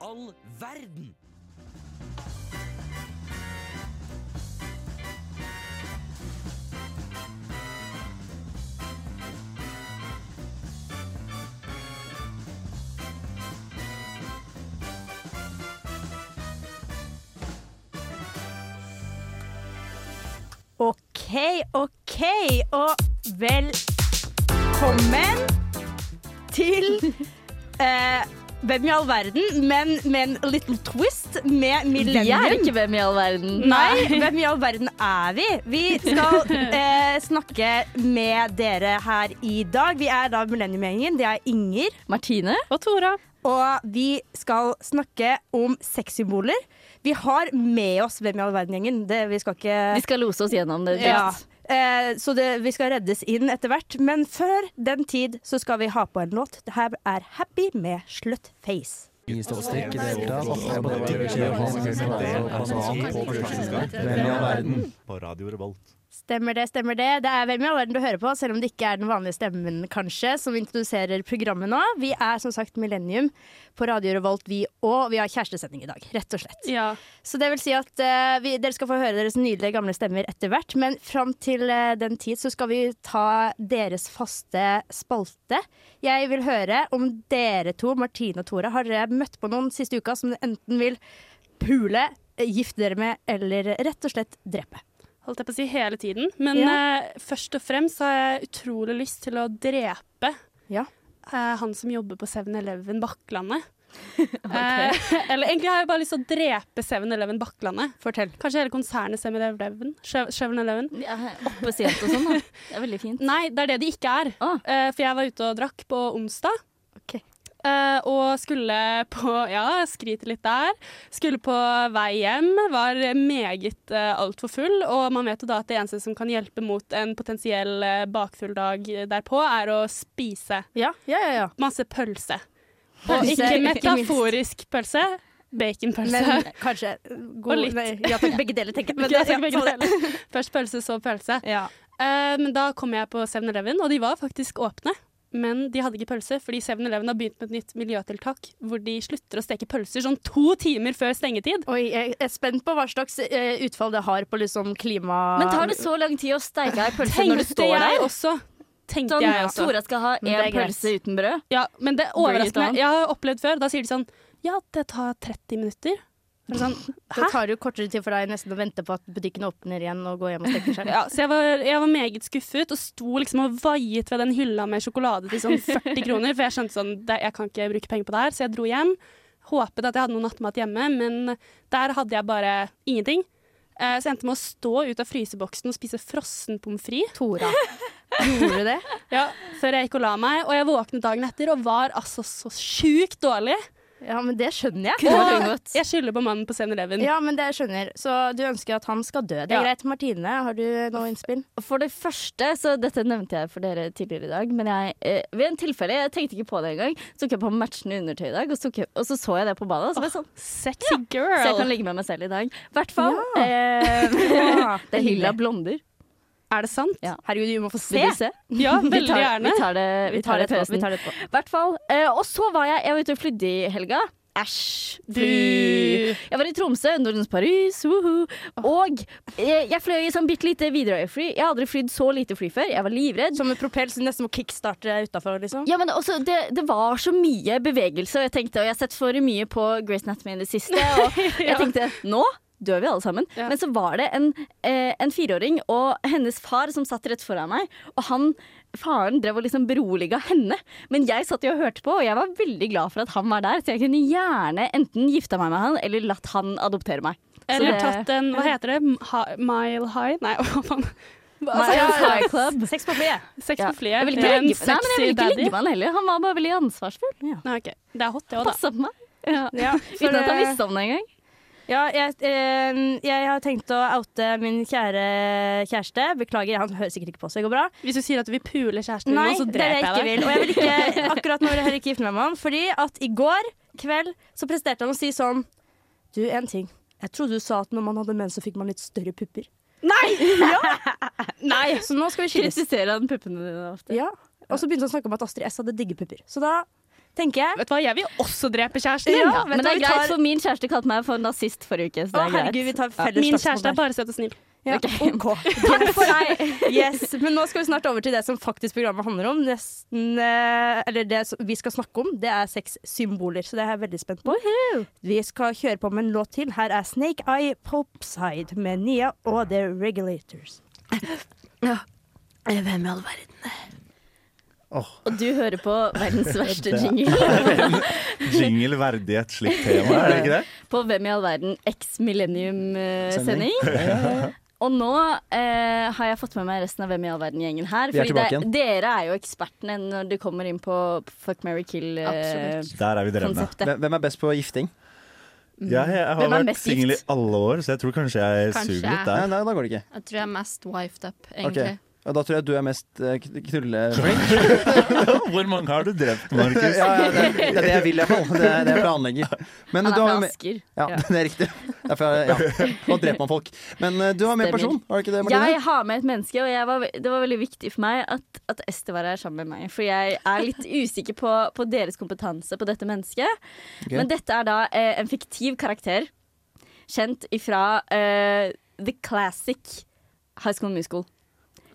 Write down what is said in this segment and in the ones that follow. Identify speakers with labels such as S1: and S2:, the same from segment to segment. S1: all verden?
S2: OK, OK, og velkommen til eh, Hvem i all verden, men med en little twist med
S3: Vi er
S2: Millennium.
S3: ikke hvem i all verden.
S2: Nei, hvem i all verden er vi? Vi skal eh, snakke med dere her i dag. Vi er da Millennium-gjengen. Det er Inger.
S3: Martine.
S4: Og Tora.
S2: Og vi skal snakke om sexsymboler. Vi har med oss Hvem i all verden-gjengen. Det- Vi skal ikke
S3: Vi skal lose oss gjennom det.
S2: Ja.
S3: direkt.
S2: Eh, så det, vi skal reddes inn etter hvert. Men før den tid så skal vi ha på en låt. Det her er Happy med Sluttface.
S5: På Radio Revolt.
S2: Stemmer det, stemmer det. Det er hvem i all verden du hører på, selv om det ikke er den vanlige stemmen kanskje, som introduserer programmet nå. Vi er som sagt Millennium på Radio Revolt, vi òg. Vi har kjærestesending i dag, rett og slett.
S4: Ja.
S2: Så det vil si at eh, vi, dere skal få høre deres nydelige gamle stemmer etter hvert. Men fram til eh, den tid så skal vi ta deres faste spalte. Jeg vil høre om dere to, Martine og Tora, har dere møtt på noen siste uka som dere enten vil pule, eh, gifte dere med eller rett og slett drepe?
S4: Holdt jeg på å si hele tiden. Men
S2: Ja.
S4: eh, først og fremst har jeg utrolig lyst til å drepe
S2: Ja.
S4: eh, han som jobber på 7-Eleven Bakklandet. Eh, eller egentlig har jeg bare lyst til å drepe 7-Eleven Bakklandet.
S2: Fortell.
S4: Kanskje hele konsernet 7-Eleven. 7-Eleven.
S3: Ja, Oppe sent og sånn. da. Det er veldig fint.
S4: Nei, det er det de ikke er.
S3: Ah.
S4: Eh, for jeg var ute og drakk på onsdag.
S2: Ok.
S4: Eh, og skulle på Ja, jeg skryter litt der. Skulle på vei hjem. Var meget uh, altfor full. Og man vet jo da at det eneste som kan hjelpe mot en potensiell eh, bakfull dag derpå, er å spise
S2: Ja, ja, ja. ja.
S4: masse pølse. Og
S2: Pølse,
S4: ikke
S2: ikke
S4: metaforisk pølse. Baconpølse.
S2: Men kanskje god,
S4: Og litt.
S2: Nei, ja, takk, begge deler, tenker jeg. Men
S4: altså
S2: det-
S4: Ikke jeg skal
S2: ja,
S4: begge
S2: sånn det-
S4: deler. Først pølse, så pølse.
S2: Ja.
S4: Eh, Men da kom jeg på 7-Eleven, og de var faktisk åpne. Men de hadde ikke pølse, fordi 7-Eleven har begynt med et nytt miljøtiltak hvor de slutter å steke pølser sånn to timer før stengetid.
S2: Oi, jeg er spent på hva slags eh, utfall det har på liksom klima...
S3: Men tar det så lang tid å steike ei pølse når du
S4: Tenkte
S3: står
S4: jeg
S3: der?
S4: også. Tenkte
S3: Sånn,
S4: jeg også.
S3: Tora skal ha
S2: Men det
S3: én
S2: er greit.
S3: pølse uten brød.
S4: Ja, men det
S3: Bring it
S4: overrasker
S3: on.
S4: meg. Jeg har opplevd før. Da sier de sånn Ja, det tar 30 minutter. Er det Sånn,
S2: Da tar det jo kortere tid for deg nesten å vente på at butikken åpner igjen og gå hjem og steke selv.
S4: ja, så jeg var, jeg var meget skuffet og sto liksom og vaiet ved den hylla med sjokolade til sånn 40 kroner, for jeg skjønte sånn det, Jeg kan ikke bruke penger på det her, så jeg dro hjem. Håpet at jeg hadde noe nattmat hjemme, men der hadde jeg bare ingenting. Eh, Så jeg endte med å stå ut av fryseboksen og spise frossen pommes frites
S2: Tora, gjorde du det?
S4: ja, før jeg gikk og la meg. Og jeg våknet dagen etter og var altså så sjukt dårlig.
S2: Ja, men det skjønner jeg.
S3: Kunne vært
S4: Og
S3: unngått.
S4: jeg skylder på mannen på 7-Eleven.
S2: Ja, men det skjønner. Så du ønsker at han skal dø. Det er
S4: Ja.
S2: greit. Martine, har du noe innspill?
S3: For det første, så dette nevnte jeg for dere tidligere i dag, men jeg, eh, ved en tilfelle, jeg tenkte ikke på det engang, så tok jeg på matchende undertøy i dag, og så, tok jeg, og så så jeg det på badet, og så ble jeg sånn,
S4: Sexy
S3: så jeg kan
S4: girl.
S3: ligge med meg selv i dag. I hvert fall,
S2: Ja.
S3: eh, det er hylla
S2: hyggelig.
S3: blonder.
S4: Er det sant?
S3: Ja.
S2: Herregud, vi må få se.
S3: Vil du se?
S4: Ja,
S3: Vi
S4: veldig
S3: tar,
S4: gjerne.
S3: Vi tar det, vi tar det,
S2: etterpå, vi
S3: pausen.
S2: tar det etterpå.
S3: I hvert fall. Eh, og så var jeg, jeg var ute og flydde i helga. Æsj. Fy.
S4: Du.
S3: Jeg var i Tromsø, Nordens Paris, woho. Og eh, jeg fløy i sånn bitte lite Widerøe-fly. Jeg har aldri flydd så lite fly før. Jeg var livredd.
S2: Som en propell som nesten må kickstarte deg utafor, liksom.
S3: Ja, men også, det, det var så mye bevegelse, og jeg tenkte, og jeg har sett for mye på Grace Anatomy i det siste, og jeg tenkte, nå dør vi alle sammen.
S4: Ja.
S3: Men så var det en, eh, en fireåring og hennes far som satt rett foran meg, og han, faren drev og liksom beroliga henne. Men jeg satt jo og hørte på, og jeg var veldig glad for at han var der, så jeg kunne gjerne enten gifta meg med han, eller latt han adoptere meg. Så
S4: Eller
S3: det-
S4: tatt en Hva heter det? Hi- Mile high? Nei, hva faen.
S3: Altså,
S2: Ja,
S3: jeg var
S2: ja.
S3: i club.
S2: Sex på flyet.
S4: Sex
S3: Ja.
S4: på flyet.
S3: Jeg vil
S4: Det
S3: ikke
S4: er en
S3: legge, nei, men jeg vil ikke
S4: sexy
S3: legge med han heller. Han var bare veldig ansvarsfull. Ja.
S4: Nei, ok. Det er hot, det òg, da.
S3: Passa på meg. Ja.
S2: Ja, for
S3: Uten at han
S2: det-
S3: visste om det engang.
S2: Ja, jeg, eh, jeg har tenkt å oute min kjære kjæreste. Beklager, han hører sikkert ikke på, så det går bra.
S4: Hvis du sier at du vil pule kjæresten din nå,
S2: Nei,
S4: så
S2: det er det jeg
S4: dreper
S2: ikke
S4: jeg
S2: vil.
S4: deg.
S2: Og jeg vil ikke, akkurat nå vil jeg heller ikke gifte meg med han. Fordi at i går kveld så presterte han å si sånn Du, en ting. Jeg trodde du sa at når man hadde mens, så fikk man litt større pupper.
S4: Nei!
S2: Så nå skal vi skilles.
S3: Kritiserer han puppene dine ofte?
S2: Ja. Og så begynte han å snakke om at Astrid S hadde digge pupper. Så da tenker jeg.
S4: Vet du hva, jeg vil også drepe kjæresten din.
S2: Ja, vet
S3: men
S2: du
S3: det
S2: hva,
S3: er
S2: vi
S3: greit,
S2: tar-
S3: for min kjæreste kalte meg for nazist forrige uke.
S2: Å,
S3: Så det er greit.
S2: herregud, vi tar felles
S4: Min
S2: slagsmål
S4: kjæreste
S2: der.
S4: er bare søt og snill.
S2: Ja, ok. Takk for deg. Yes, men nå skal vi snart over til det som faktisk programmet handler om. Nesten, eh, eller det som vi skal snakke om, det er sexsymboler, så det er jeg veldig spent på. Vi skal kjøre på med en låt til. Her er Snake Eye Popside med Nia og The Regulators.
S3: Eh,
S4: Hvem i all verden?
S1: Åh,
S3: Og du hører på verdens verste
S1: Det er-
S3: jingle
S1: jingle verdig et slikt tema, er det ikke det?
S3: på Hvem i all verden eks-millennium-sending. Og nå eh, har jeg fått med meg resten av Hvem i all verden-gjengen her.
S5: Vi er
S3: det,
S5: tilbake igjen.
S3: dere er jo ekspertene når det kommer inn på Fuck, marry, eh, kill-konseptet.
S1: Der er vi drevne.
S5: Hvem hvem er best på gifting?
S3: Mm.
S1: Jeg, jeg
S3: Hvem
S1: har
S3: er
S1: vært
S3: mest gift?
S1: singel i alle år, så jeg tror kanskje jeg
S6: Kanskje
S1: suger
S6: jeg-
S1: litt
S5: Nei,
S1: der.
S5: nei, da går det ikke.
S6: Jeg tror jeg er mest wifed up,
S5: Ok.
S6: egentlig.
S5: Og da tror jeg du er mest eh, kn- knulleflink.
S1: Hvor mange har du drept, Markus?
S5: Ja, ja, det, det er det jeg vil, i hvert fall. Det er det jeg planlegger. Men
S3: Han
S5: du
S3: er
S5: har
S3: fra
S5: jo med
S3: Asker.
S5: Ja,
S3: Ja.
S5: det er riktig. Derfor, er- ja. Nå dreper man folk. Men eh, du har
S3: Stemmer.
S5: med en person, har du ikke det, Martine?
S3: Jeg har med et menneske, og jeg var, ve- det var veldig viktig for meg at, at Ester var her sammen med meg. For jeg er litt usikker på, på deres kompetanse på dette mennesket.
S5: Ok.
S3: Men dette er da eh, en fiktiv karakter kjent ifra eh, The Classic High School Musical.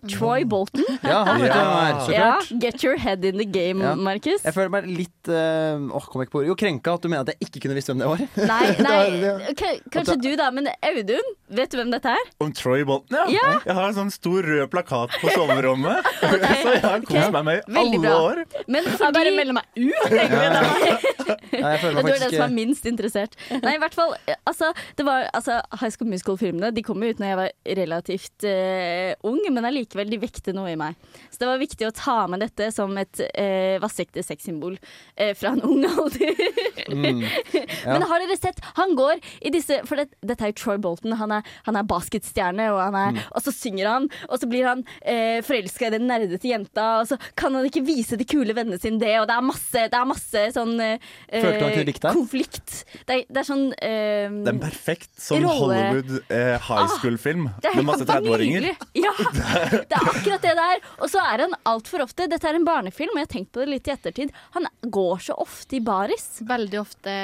S5: Mm.
S3: Troy Bolton.
S5: Ja, han vet du hvem han er, så
S3: Ja,
S5: klart.
S3: get your head in the game,
S5: Ja.
S3: Markus.
S5: Jeg føler meg litt eh, åh, kom jeg ikke på ordet. Jo, krenka at du mener at jeg ikke kunne visst hvem det var.
S3: Nei, nei
S5: det-
S3: ok, kanskje du da, men Audun, vet du hvem dette er?
S1: Om Troy Bolton, ja.
S3: Ja.
S1: Jeg har en sånn stor rød plakat på soverommet, så jeg har kost meg med i
S3: Veldig
S1: alle
S3: bra.
S1: år.
S3: Men
S6: Jeg bare
S3: fordi-
S6: melder meg ut.
S5: Nei, jeg føler
S3: Ja,
S5: meg
S3: Du er den
S5: faktisk
S3: som er
S5: eh,
S3: minst interessert. Nei, i hvert fall, eh, altså, det var, altså High School Musical-filmene De kom jo ut når jeg var relativt eh, ung, men allikevel, de vekte noe i meg. Så det var viktig å ta med dette som et uh, vassekte sexsymbol eh, fra en ung alder. Men har dere sett, han går i disse For det, dette er jo Troy Bolton. Han er, han er basketstjerne, og, han er, og så synger han. Og så blir han eh, forelska i den nerdete jenta, og så kan han ikke vise de kule vennene sine det, og det er masse, det er masse sånn eh,
S5: Følte du han kunne likt deg?
S3: Konflikt. Det er, det er sånn eh,
S1: Det er en perfekt sånn
S3: Rolle. Ah,
S1: Hollywood eh, high school-film
S3: det er
S1: med masse
S3: helt
S1: 30-åringer.
S3: nydelig. Ja, det er akkurat det der. Og så er han altfor ofte Dette er en barnefilm, og jeg har tenkt på det litt i ettertid. Han går så ofte i baris.
S6: Veldig ofte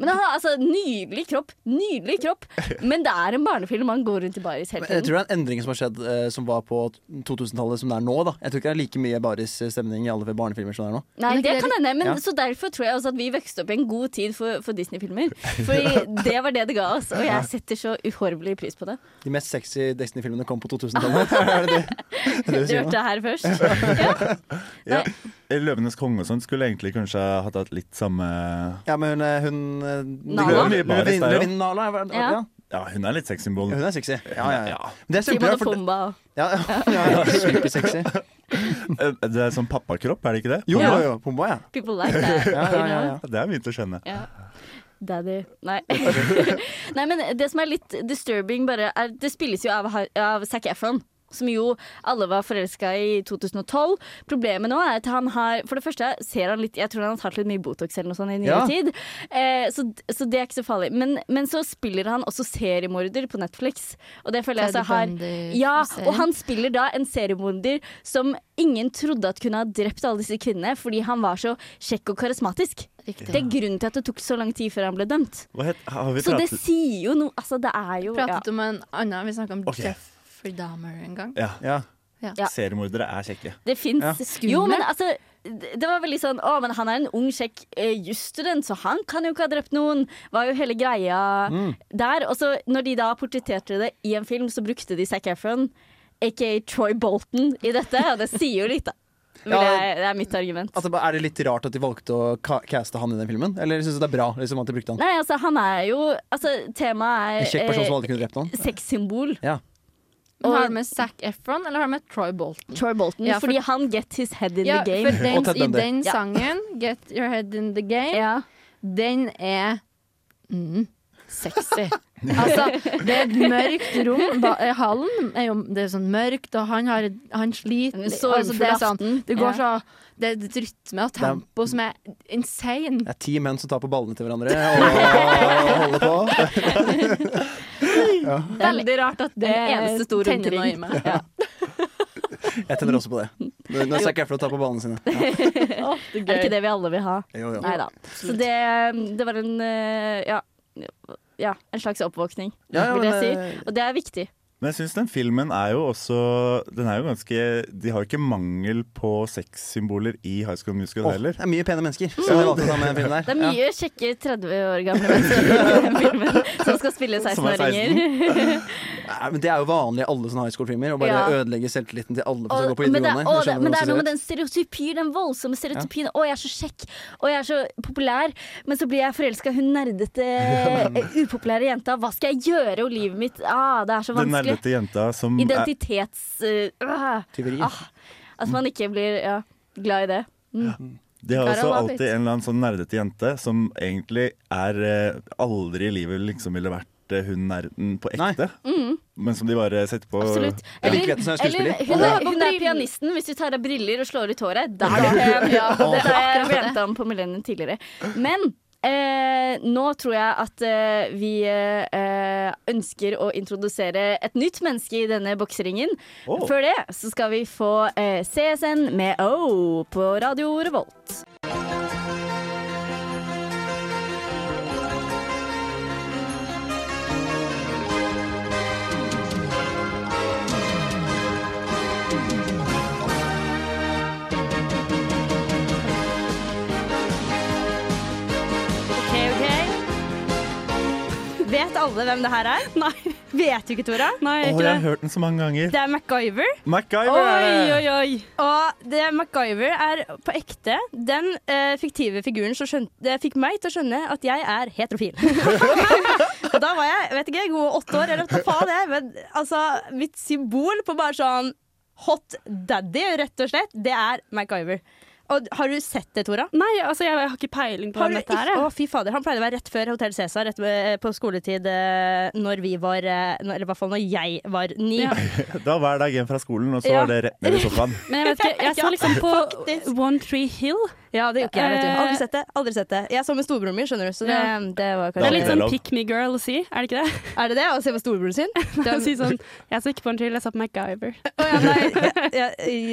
S3: Men han har altså nydelig kropp, nydelig kropp. Men det er en barnefilm, man går rundt i baris hele
S5: Men Jeg
S3: tiden.
S5: tror det er en endring som har skjedd eh, som var på 2000-tallet som det er nå. da Jeg tror ikke det er like mye barisstemning i alle barnefilmer som det er nå.
S3: Nei,
S6: Men
S3: det
S6: ikke
S3: kan hende, men
S5: Ja.
S3: Så derfor tror jeg også at vi vokste opp i en god tid for, for Disney-filmer. For det var det det ga oss, og jeg setter så uhorvelig pris på det.
S5: De mest sexy Destiny-filmene kom på 2000-tallet. er det det, er det
S3: Du
S5: det du sier
S3: hørte
S5: nå?
S3: det her først. Ja.
S1: Ja. Løvenes konge og sånn skulle egentlig kanskje ha hatt hatt litt samme
S5: Ja, men hun, eh, hun eh,
S3: Nala?
S5: Løvin- Løvin- Løvin Nala er hva-
S3: Ja.
S5: ja.
S1: Ja, hun er litt sexsymbol.
S5: Ja, Hun er sexy. Ja, ja, ja. Men det er
S3: Timon
S5: kjempebra,
S3: og
S5: for det-
S3: Pumba og
S5: ja, ja, ja, ja. Supersexy.
S1: Eh, Det er sånn pappakropp, er det ikke det?
S5: Jo,
S3: Ja.
S5: jo, jo. Pumba, ja.
S3: People like that.
S5: Ja, ja, ja, ja.
S1: Ja, Det er begynt å skjønne.
S3: Daddy. Nei. Nei, men det som er litt disturbing, bare er Det spilles jo av, av Zac Efron. Som jo alle var forelska i 2012. Problemet nå er at han har For det første ser han litt Jeg tror han har tatt litt mye Botox eller noe sånt i nyere
S5: Ja.
S3: tid. Eh, så, så det er ikke så farlig. Men, men så spiller han også seriemorder på Netflix. Og det føler jeg
S6: Ted
S3: så har
S6: Bundy
S3: Ja,
S6: serien.
S3: og han spiller da en seriemorder som ingen trodde at kunne ha drept alle disse kvinnene, fordi han var så kjekk og karismatisk.
S6: riktig.
S3: Det er grunnen til at det tok så lang tid før han ble dømt.
S1: Hva het, har vi
S3: Så det
S1: pratet
S3: sier jo noe Altså, det er jo
S6: Vi
S3: ja.
S6: pratet om en annen. Vi snakka om
S1: Ok.
S6: Jeffrey Dahmer en gang.
S1: ja.
S5: ja.
S3: Ja.
S1: Seriemordere er kjekke.
S3: Det fins
S5: Ja.
S3: Jo, men altså det det var veldig sånn Å, men han er en ung, kjekk eh, jusstudent, så han kan jo ikke ha drept noen. Var jo hele greia
S5: Mm.
S3: der. Og så, når de da portretterte det i en film, så brukte de Zac Efron, aka Troy Bolton, i dette. Og det sier jo litt, da. Vil
S5: Ja.
S3: jeg, det er mitt argument.
S5: Altså, er det litt rart at de valgte å ka caste han i den filmen? Eller syns du det er bra liksom, at de brukte han?
S3: Nei, altså, han er jo Altså, temaet
S5: En
S3: er
S5: kjekk person som
S3: eh,
S5: aldri kunne drept noen?
S3: sexsymbol.
S5: Ja.
S6: Men har du med Zac Efron eller har du med Troy Bolton?
S3: Troy Bolton,
S6: Ja, for-
S3: fordi han get his head in
S6: Ja,
S3: the
S6: for
S3: game.
S6: den,
S5: Og Ted
S6: i
S5: Bundy.
S6: den
S3: Ja.
S6: sangen, Get Your Head In The Game,
S3: Ja.
S6: den er mm, sexy. altså, det er et mørkt rom. Ba eh, hallen er jo det er sånn mørkt, og han, har, han sliter.
S3: En
S6: Altså, det, er
S3: sorgfull
S6: sånn,
S3: aften.
S6: det går så Det er et rytme og
S5: er-
S6: tempo som er insane.
S5: Det er ti menn som tar på ballene til hverandre og holder på.
S3: Veldig rart at det
S6: Det
S3: er eneste store
S6: tenner noe i
S3: omkring.
S6: meg.
S5: Jeg tenner også på det. Nå nå er ikke jeg for å ta på ballene sine. Ja.
S6: Er det ikke det vi alle vil ha?
S5: Jo, jo.
S6: Nei da. Så det, det var en eh, ja, ja, en slags oppvåkning,
S5: Ja, ja,
S6: vil jeg
S5: men, eh,
S6: si. Og det er viktig.
S1: Men jeg syns den filmen er jo også Den er jo ganske De har jo ikke mangel på sexsymboler i High School Musical
S5: Åh,
S1: heller.
S5: det er mye pene mennesker. Så jeg valgte å ta med den filmen der.
S6: Det er mye kjekke 30 år gamle mennesker i den filmen som skal spille
S1: Som er
S6: 16-åringer.
S5: Nei, men Det er jo vanlig i alle sånne high school-filmer. Å bare
S6: Ja.
S5: ødelegge selvtilliten til alle for å gå
S6: Og-
S5: på
S6: Men det, å,
S5: videregående. Jeg
S6: det,
S5: skjønner
S6: men det er
S5: hvordan du
S6: noe
S5: ser
S6: med den stereotypien, den voldsomme stereotypien. 'Å, jeg er så kjekk, og jeg er så populær', men så blir jeg forelska i hun nerdete, eh, upopulære jenta. Hva skal jeg gjøre? Og livet mitt ah, Det er så
S1: Den
S6: vanskelig.
S1: nerdete jenta som er,
S6: Identitets... eh, ah,
S5: ut. Tyveri.
S6: ah, at man ikke blir ja, glad i det.
S1: De har også
S7: Kara Labic.
S1: alltid en eller annen sånn nerdete jente som egentlig er eh, aldri i livet liksom ville vært eh, hun nerden på
S5: Nei.
S1: ekte. Men som de bare setter på
S6: Absolutt.
S5: Jeg liker at hun er skuespiller.
S6: eller hun, er, hun er pianisten. Hvis du tar av briller og slår ut håret, da er det pen. Ja, det har jeg ranta om på Millennium tidligere. Men eh, nå tror jeg at eh, vi eh, ønsker å introdusere et nytt menneske i denne bokseringen.
S1: Åh.
S6: Før det så skal vi få eh, CSN med O på Radio Revolt. Ok, ok.
S3: Vet alle hvem det her er?
S4: Nei,
S3: Vet du ikke, Tora?
S4: nei, jeg er
S1: Å, jeg
S4: ikke
S1: har
S4: det.
S1: hørt den så mange ganger.
S3: Det er MacGyver.
S1: MacGyver!
S4: Oi, oi, oi.
S3: Og det MacGyver er på ekte den eh, fiktive figuren som skjønte, det fikk meg til å skjønne at jeg er heterofil. og da var jeg vet ikke, gode åtte år, eller hva faen det er. Men altså, mitt symbol på bare sånn hot daddy, rett og slett, det er MacGyver. Og har du sett det, Tora?
S4: Nei, altså, jeg har ikke peiling på
S3: Har
S4: hvem
S3: du
S4: dette her.
S3: ikke-
S4: jeg.
S3: Å, fy fader. Han pleide å være rett før Hotell Cæsar, rett ved- på skoletid, eh, når vi var eh, når- Eller i hvert fall når jeg var ni.
S4: Ja.
S1: Da var det hjem fra skolen, og så
S3: Ja.
S1: var det rett ned i sofaen.
S4: Men jeg vet ikke, jeg så liksom på
S3: Faktisk.
S4: One Tree Hill.
S3: Ja, det gjorde ikke jeg. vet du
S4: Eh.
S3: Aldri sett det. aldri sett det Jeg så med storebroren min, skjønner du. Så det,
S4: Ja.
S3: det var
S1: Ja,
S4: Det
S3: kanskje
S4: er
S1: det
S4: litt
S1: er
S4: sånn
S1: lov.
S4: pick me girl å si, er det ikke det?
S3: Er det det? Å se på storebroren sin?
S4: Å si sånn, jeg så ikke på One Tree Hill, jeg så på MacGyver.
S3: Å, ja, nei, ja, ja,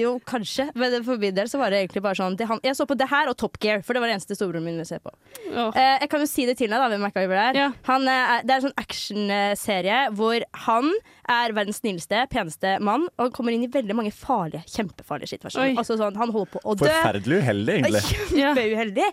S3: jo, kanskje. Men det- for min del så var det egentlig bare sånn det han, Jeg så på det her og Top Gear, for det var det eneste storebroren min ville se på.
S4: Åh.
S3: Eh, jeg kan jo si det til deg, da, hvem MacGyver er.
S4: Ja.
S3: Han, eh, er- det er en sånn actionserie hvor han er verdens snilleste, peneste mann, og han kommer inn i veldig mange farlige, kjempefarlige situasjoner.
S4: Oi.
S3: Altså sånn, Han holder på å dø.
S1: Forferdelig uheldig, egentlig.
S4: Ja.
S3: kjempeuheldig.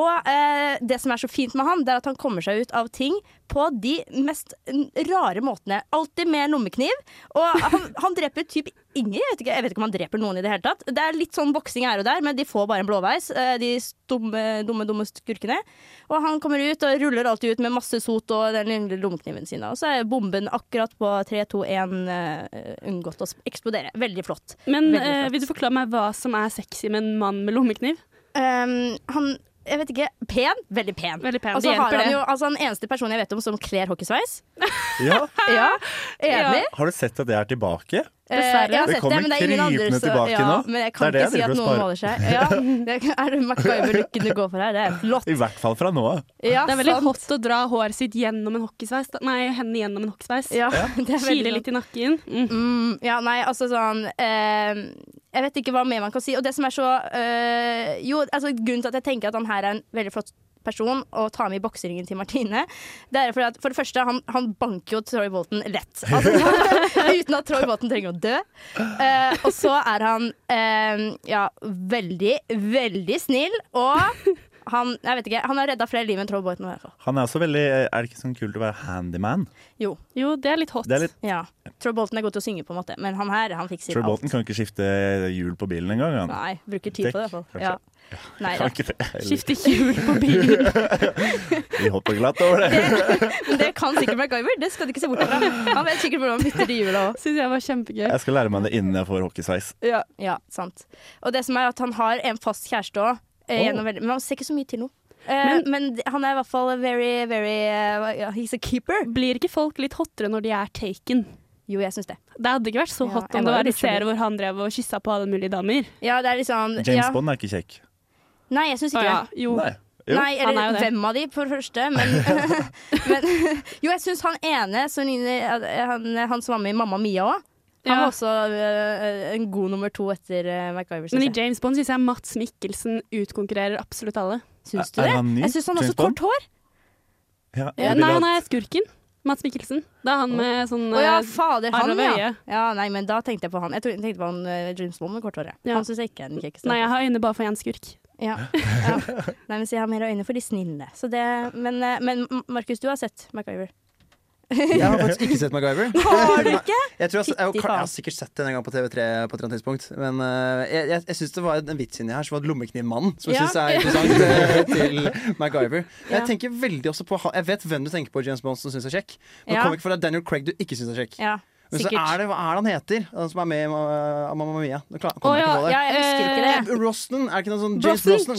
S3: Og eh, det som er så fint med han, det er at han kommer seg ut av ting på de mest n- rare måtene. Alltid med lommekniv. Og han, han dreper typ ingen. Jeg vet, ikke, jeg vet ikke om han dreper noen i det hele tatt. Det er litt sånn boksing her og der, men de får bare en blåveis, eh, de dumme, dumme, dumme skurkene. Og han kommer ut og ruller alltid ut med masse sot og den lille lommekniven sin. da. Og så er bomben akkurat på 3, 2, 1 eh, unngått å s- eksplodere. Veldig flott.
S4: Men
S3: Veldig flott.
S4: eh, vil du forklare meg hva som er sexy med en mann med lommekniv?
S3: Ehm, han jeg vet ikke. Pen? Veldig pen.
S4: Veldig pen,
S3: Og så
S4: det
S3: har
S4: hjelper
S3: han
S4: det.
S3: jo altså, den eneste personen jeg vet om som kler hockeysveis.
S1: Ja.
S3: Ja, Enig.
S1: Har du sett at det er tilbake?
S3: Eh,
S4: Dessverre.
S3: jeg har
S1: Det
S3: sett
S1: kommer
S3: men er ingen
S1: krypende
S3: andre som-
S1: tilbake
S3: ja,
S1: nå.
S3: Men jeg kan
S1: Det er det
S3: ikke si
S1: jeg
S3: at
S1: driver
S3: noen
S1: og
S3: måler seg. Ja, det er det MacGyver-looken du går for her? Det er flott.
S1: I hvert fall fra nå av.
S3: Ja,
S4: Det er veldig
S3: sant.
S4: hot å dra håret sitt gjennom en hockeysveis. da- Nei, hendene gjennom en hockeysveis.
S3: Ja, det er
S4: Kile
S3: veldig
S4: litt i nakken. Mm.
S3: Mm, ja, nei, altså sånn eh, Jeg vet ikke hva mer man kan si. Og det som er så eh, Jo, altså grunnen til at jeg tenker at han her er en veldig flott person å ta med i bokseringen til Martine, det er fordi at for det første, han, han banker jo Troy Bolton lett. Altså, sånn, uten at Troy Bolton trenger å dø. Eh, og så er han eh, ja, veldig, veldig snill, og han Jeg vet ikke, han har redda flere liv enn Troy Bolton, i hvert fall.
S1: Han er også veldig Er det ikke sånn kult å være handyman?
S3: Jo.
S4: Jo, det er litt hot.
S1: Det er litt
S3: Ja. Troy Bolton er god til å synge, på en måte, men han her, han fikser
S1: Troy
S3: alt.
S1: Bolton kan ikke skifte hjul på bilen engang. Han.
S3: Nei, bruker tid på det i hvert fall.
S1: Kanskje.
S3: Ja. Nei,
S1: Kan ikke det. Eller,
S4: Skifte hjul på bilen.
S1: Vi hopper glatt over det.
S3: Men det kan sikkert MacGyver, det skal du ikke se bort fra. Han vet sikkert hvordan han bytter de hjula òg.
S4: Syns jeg var kjempegøy.
S1: Jeg skal lære meg det innen jeg får hockeysveis.
S3: Ja. sant. Og det som er at han har en fast kjæreste òg, men man ser ikke så mye til nå. Eh, men, han er i hvert fall very, very eh, ja, He's a keeper.
S4: Blir ikke folk litt hottere når de er taken?
S3: Jo, jeg syns det.
S4: Det hadde ikke vært så
S3: Ja,
S4: hot
S3: jeg
S4: om
S3: var
S4: det
S3: jo
S4: var en
S3: litt
S4: serie hvor han drev og kyssa på alle mulige damer.
S3: Ja, det er liksom
S1: James
S3: ja.
S1: Bond er ikke kjekk.
S3: Nei, jeg syns
S4: Å
S3: ikke
S4: ja,
S3: det.
S4: jo.
S1: Nei. Jo.
S3: Nei,
S4: han er
S3: eller
S4: jo det.
S3: hvem av de, for det første. Men, eh, men jo, jeg syns han ene som ligner han, han som var med i Mamma Mia òg,
S2: Han
S4: Ja.
S2: var også eh, en god nummer to etter eh, MacGyver.
S4: Men i
S2: synes jeg.
S4: James Bond syns jeg Mats Mikkelsen utkonkurrerer absolutt alle.
S2: Syns du
S1: Er- er
S2: det?
S1: han ny,
S2: Jeg syns han har
S1: James
S2: så kort hår.
S1: Ja,
S4: Nei,
S1: jeg ville
S4: han
S1: hatt-
S4: er skurken. Mats Mikkelsen. Det er han med sånn
S2: Å ja,
S4: eh,
S2: fader,
S4: arr
S2: han,
S4: over
S2: ja.
S4: øyet.
S2: ja. Nei, men da tenkte jeg på han. Jeg tror- tenkte på han eh, James Bond med kort hår.
S4: Ja.
S2: Ja. Han syns jeg ikke er den kjekkeste.
S4: Nei, jeg har øyne bare for én skurk.
S2: Ja. ja. Nei, men så jeg har mer øyne for de snille. Så det, men, eh, men Markus, du har sett MacGyver.
S5: Jeg har faktisk ikke sett MacGyver.
S2: Har du ikke?
S5: Jeg, tror jeg, jeg,
S2: Fytti
S5: jeg,
S2: faen.
S5: har sikkert sett den en gang på TV3, på et eller annet tidspunkt men eh, jeg, jeg, jeg syns det var en vits inni her som var lommeknivmannen, som jeg
S2: Ja.
S5: syns er interessant eh, til MacGyver. Jeg tenker veldig også på han- Jeg vet hvem du tenker på, James Bond, som syns er kjekk. Nå
S2: Ja.
S5: kommer ikke for deg Daniel Craig du ikke syns er kjekk.
S2: Ja,
S5: Men så
S2: sikkert.
S5: er det, hva er det han heter, han som er med i Ma- eh, Mamma Mia? Nå klar,
S4: Å
S5: kommer jeg
S4: ja,
S5: ikke på det.
S2: ja, jeg husker
S3: Eh,
S2: ikke det.
S5: Brosnan, er det ikke noe sånn James Brosnan?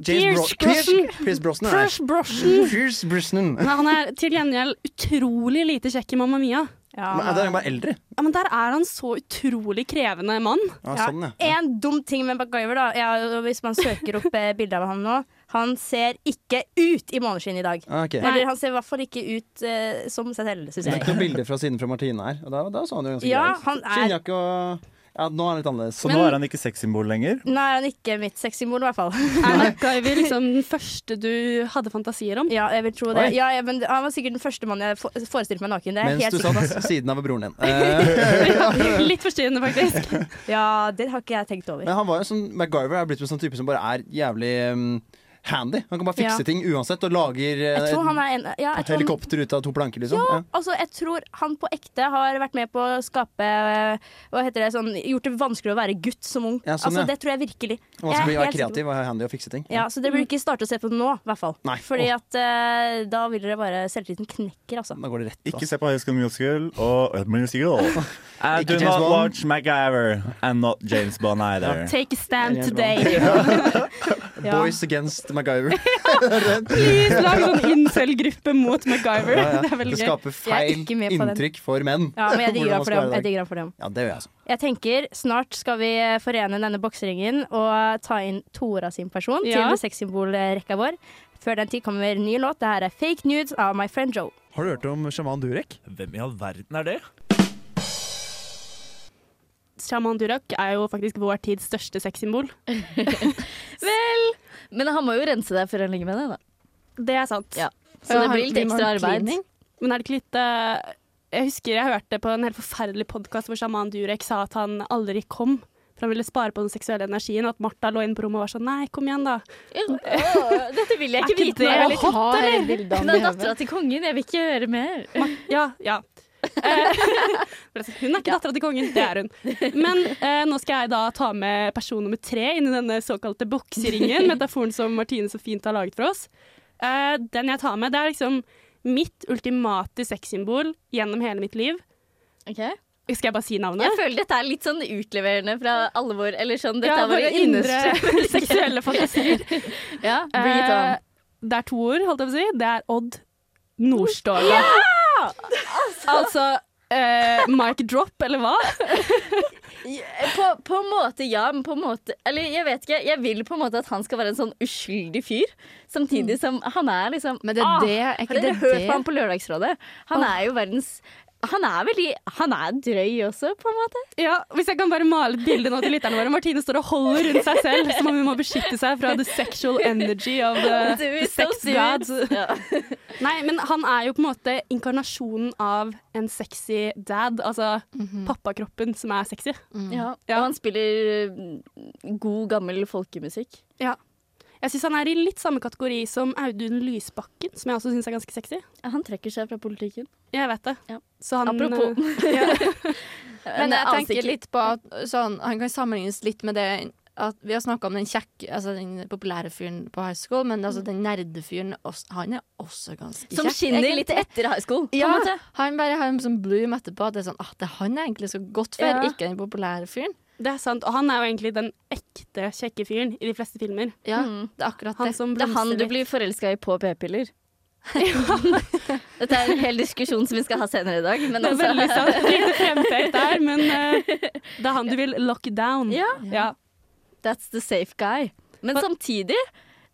S5: James Bro- Pierce- Pierce Brosnan, nei.
S4: Pierce Brosnan.
S5: Pierce Brosnan.
S4: Nei, han er til gjengjeld utrolig lite kjekk i Mamma Mia.
S2: Ja,
S5: Men, er det bare eldre?
S4: Ja, men der er han så utrolig krevende mann.
S5: Ja,
S2: Ja.
S5: sånn, ja.
S2: En dum ting med MacGyver, da. Ja, og hvis man søker opp eh, bilder av han nå Han ser ikke ut i måneskinn i dag.
S5: Ah, ok.
S4: Nei.
S2: Eller han ser i hvert fall ikke ut eh, som seg selv, syns
S5: Det er
S2: jeg.
S5: ikke noen bilder fra siden fra Martine her. Og da, da så han jo ganske
S2: Ja,
S5: grei ut.
S2: han er
S5: Skinnjakke og Ja, nå er han litt annerledes.
S1: Så nå er han ikke sexsymbol lenger.
S2: Nå er han ikke mitt sexsymbol, i hvert fall.
S4: Er MacGyver liksom den første du hadde fantasier om?
S2: Ja, jeg vil tro det.
S5: Oi.
S2: Ja, jeg, men Han var sikkert den første mannen jeg fo- forestilte meg naken. Det er jeg
S5: Mens
S2: helt
S5: du
S2: sikkert.
S5: satt siden av broren din. Eh,
S4: Litt forstyrrende, faktisk.
S2: Ja, det har ikke jeg tenkt over.
S5: men han var jo sånn MacGyver er blitt en sånn type som bare er jævlig um, handy. Han kan bare fikse
S2: Ja.
S5: ting uansett og lager eh,
S2: Jeg tror han er en ja, jeg
S5: et
S2: tror han,
S5: helikopter ut av to planker, liksom. Ja.
S2: altså, jeg tror han på ekte har vært med på å skape eh, Hva heter det, sånn, gjort det vanskelig å være gutt som ung.
S5: Ja, sånn,
S2: altså,
S5: ja.
S2: Det tror jeg virkelig.
S5: Man
S2: Jeg er
S5: skal bli være
S2: helt sikker på-
S5: kreativ og handy og fikse ting.
S2: Ja, Så dere burde
S4: Mm.
S2: ikke starte å se på det nå, i hvert fall.
S5: Nei.
S2: Fordi at eh, da vil dere bare Selvtilliten knekker, altså.
S5: Da går det rett.
S1: Ikke Eh,
S5: ass.
S1: se på High School Musical og High School Musical. I
S5: Ikke
S1: do
S5: James
S1: not
S5: Bond.
S1: watch MacGyver and not James Bond either.
S4: Take a stand
S5: today.
S2: Ja.
S5: Boys against MacGyver.
S4: Please, lag sånn incel-gruppe mot MacGyver.
S5: Ja, ja.
S4: Det er veldig
S5: Det
S4: gøy.
S5: skaper
S2: Jeg er
S5: feil
S2: ikke med på den.
S5: inntrykk for menn.
S2: Ja, men jeg digger
S5: Hvordan
S2: han
S5: man
S2: for det.
S5: skal være
S2: Jeg
S5: i dag.
S2: digger han for det.
S5: Ja, det gjør jeg, altså.
S2: Jeg tenker snart skal vi forene denne bokseringen og ta inn Tora sin person
S4: Ja.
S2: til sexsymbolrekka vår. Før den tid kommer ny låt. Det her er Fake Nudes av My Friend Joe.
S8: Har du hørt om sjaman Durek?
S9: Hvem i all verden er det?
S4: Shaman Durek er jo faktisk vår tids største sexsymbol.
S3: Vel, men han må jo rense deg før han ligger med deg, da.
S4: Det er sant.
S3: Ja. Så det
S6: han-
S3: blir litt
S6: må
S3: ekstra
S6: ha
S3: arbeid.
S6: cleaning.
S4: Men er det ikke litt eh, Jeg husker jeg hørte på en helt forferdelig podkast hvor sjaman Durek sa at han aldri kom. For han ville spare på den seksuelle energien, og at Martha lå inne på rommet og var sånn Nei, kom igjen, da.
S3: Åh, dette vil jeg
S4: Er
S3: ikke
S4: ikke
S3: vite
S4: det
S3: mer om.
S4: litt hot,
S6: Har
S4: eller?
S6: bildene
S3: Hun er
S6: i hodet.
S3: dattera til kongen, jeg vil ikke høre mer.
S4: Ja, ja. Eh, hun er ikke dattera til kongen, det er hun. Men eh, nå skal jeg da ta med person nummer tre inn i denne såkalte bokseringen, metaforen som Martine så fint har laget for oss. Eh, den jeg tar med, det er liksom mitt ultimate sexsymbol gjennom hele mitt liv. Skal jeg bare si navnet?
S3: Jeg føler dette er litt sånn utleverende fra alle vår Eller sånn, dette
S4: Ja,
S3: er våre
S4: våre indre
S3: innerste
S4: seksuelle fantasier.
S3: Ja, sånn. bring it on.
S4: Eh, Det er to ord, holdt jeg på å si. Det er Odd Nordstoga. Altså eh, mic drop, eller hva?
S3: På, på en måte ja, men på en måte Eller jeg vet ikke, jeg vil på en måte at han skal være en sånn uskyldig fyr. Samtidig som han er liksom
S6: Mm. Men det er
S3: Ah,
S6: det er
S3: Har
S6: ikke
S3: dere
S6: det
S3: hørt
S6: det-
S3: på ham på Lørdagsrådet? Han er jo verdens Han er veldig Han er drøy også, på en måte.
S4: Ja, Hvis jeg kan bare male et bilde nå til lytterne våre. Martine står og holder rundt seg selv som om hun må beskytte seg fra the sexual energy of
S6: Eh,
S4: the, the sex gods.
S3: Ja.
S4: Nei, men han er jo på en måte inkarnasjonen av en sexy dad. Altså
S3: Mhm.
S4: pappakroppen som er sexy.
S3: Mm. Ja. Og han spiller mm, god, gammel folkemusikk.
S4: Jeg syns han er i litt samme kategori som Audun Lysbakken, som jeg også syns er ganske sexy.
S3: Han trekker seg fra politikken.
S4: Jeg vet det.
S3: Ja.
S4: Så han, eh,
S3: Apropos.
S6: Men jeg
S3: aner ikke-
S6: tenker litt på at sånn, han kan sammenlignes litt med det at Vi har snakka om den kjekke, altså den populære fyren på high school, men altså den nerdefyren, også- han er også ganske kjekk.
S3: Som skinner litt
S6: egentlig.
S3: etter high school. På en
S6: Ja,
S3: måte.
S6: han bare har en sånn bloom etterpå. At det er sånn, ah, det er han jeg egentlig så godt for,
S3: Ja.
S6: ikke den populære fyren.
S4: Det er sant. Og han er jo egentlig den ekte kjekke fyren i de fleste filmer.
S6: Ja,
S3: Mm.
S6: det er akkurat
S4: Han
S6: det.
S4: som
S3: Det er han
S4: blomstrer
S3: du
S4: litt.
S3: blir forelska i på p-piller. Dette er en hel diskusjon som vi skal ha senere i dag. Men
S4: Det er veldig
S3: altså,
S4: sant. Lite fremtøyt der, men eh, det er han du vil lock down.
S3: Ja.
S4: Ja.
S3: that's the safe guy. Men samtidig,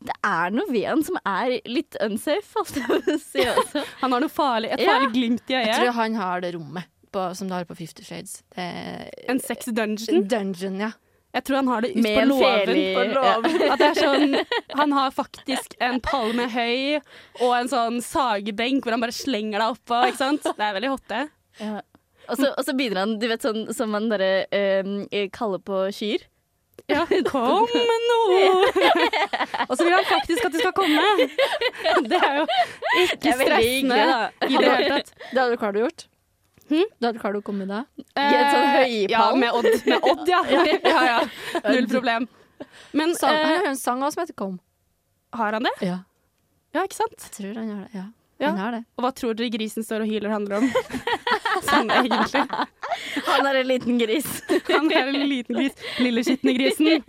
S3: det er noe ved han som er litt unsafe, holdt jeg på å si også.
S4: Han har noe farlig, et
S3: Ja.
S4: farlig glimt i
S6: Jeg
S4: øyet.
S6: tror han har det rommet. på på, som du har på Fifty Shades. Det er
S4: En sex dungeon.
S6: dungeon, ja.
S4: Jeg tror han har det
S3: Med
S4: ute på
S3: en
S4: låven.
S3: fele i-
S4: På låven. At det er sånn, han har faktisk en pall med høy og en sånn sagebenk hvor han bare slenger deg oppå. Ikke sant? Det er veldig hotte.
S3: Og så, og så begynner han, du vet sånn som man bare øhm, kaller på kyr.
S4: Ja, kom nå! Og så vil han faktisk at du skal komme. Det er jo
S3: Det
S4: ikke
S3: er veldig
S4: stressende
S3: hyggelig,
S4: i det hele tatt.
S6: Det hadde du klart å gjort.
S4: Hm?
S6: Da hadde du klart å komme da.
S3: I en sånn høypall.
S4: Eh, Ja, med Odd, med Odd ja. ja, ja. Null problem. Men
S6: Sang, han
S4: eh,
S6: har jo en sang også som heter Kom.
S4: har han det?
S6: Ja.
S4: Ja, ikke sant?
S6: Jeg tror han har det. Ja.
S4: Ja.
S6: Han har det.
S4: Og hva tror dere grisen står og hyler handler om? Sånn egentlig.
S3: Han er en liten gris.
S4: Han er en liten gris. Lille skitne grisen.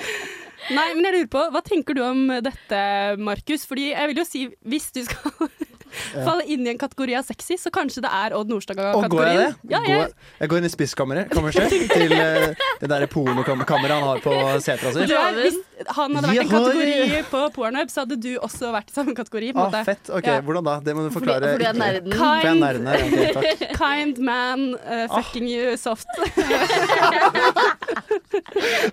S4: Nei, men jeg lurer på, hva tenker du om dette, Markus? Fordi jeg vil jo si, hvis du skal falle inn i en kategori av sexy, så kanskje det er Odd
S5: Og går jeg det?
S4: Nordstoga-kategorien. Ja,
S5: Går
S4: jeg,
S5: jeg, jeg går inn i spisskammeret kammerset, til eh, det derre pornokammeret han har på setra si.
S4: du er, hvis han hadde vært en
S5: Jaha.
S4: kategori på pornhub, så hadde du også vært i samme kategori. på en
S5: Ah,
S4: måte.
S5: fett. Ok,
S4: Ja.
S5: Hvordan da? Det må du
S3: Fordi,
S5: forklare.
S3: fordi han er
S5: ytterligere.
S3: nerden.
S4: Kind,
S5: For jeg er nerden her. ok, takk.
S4: kind man, eh,
S5: Ah.
S4: fucking you soft.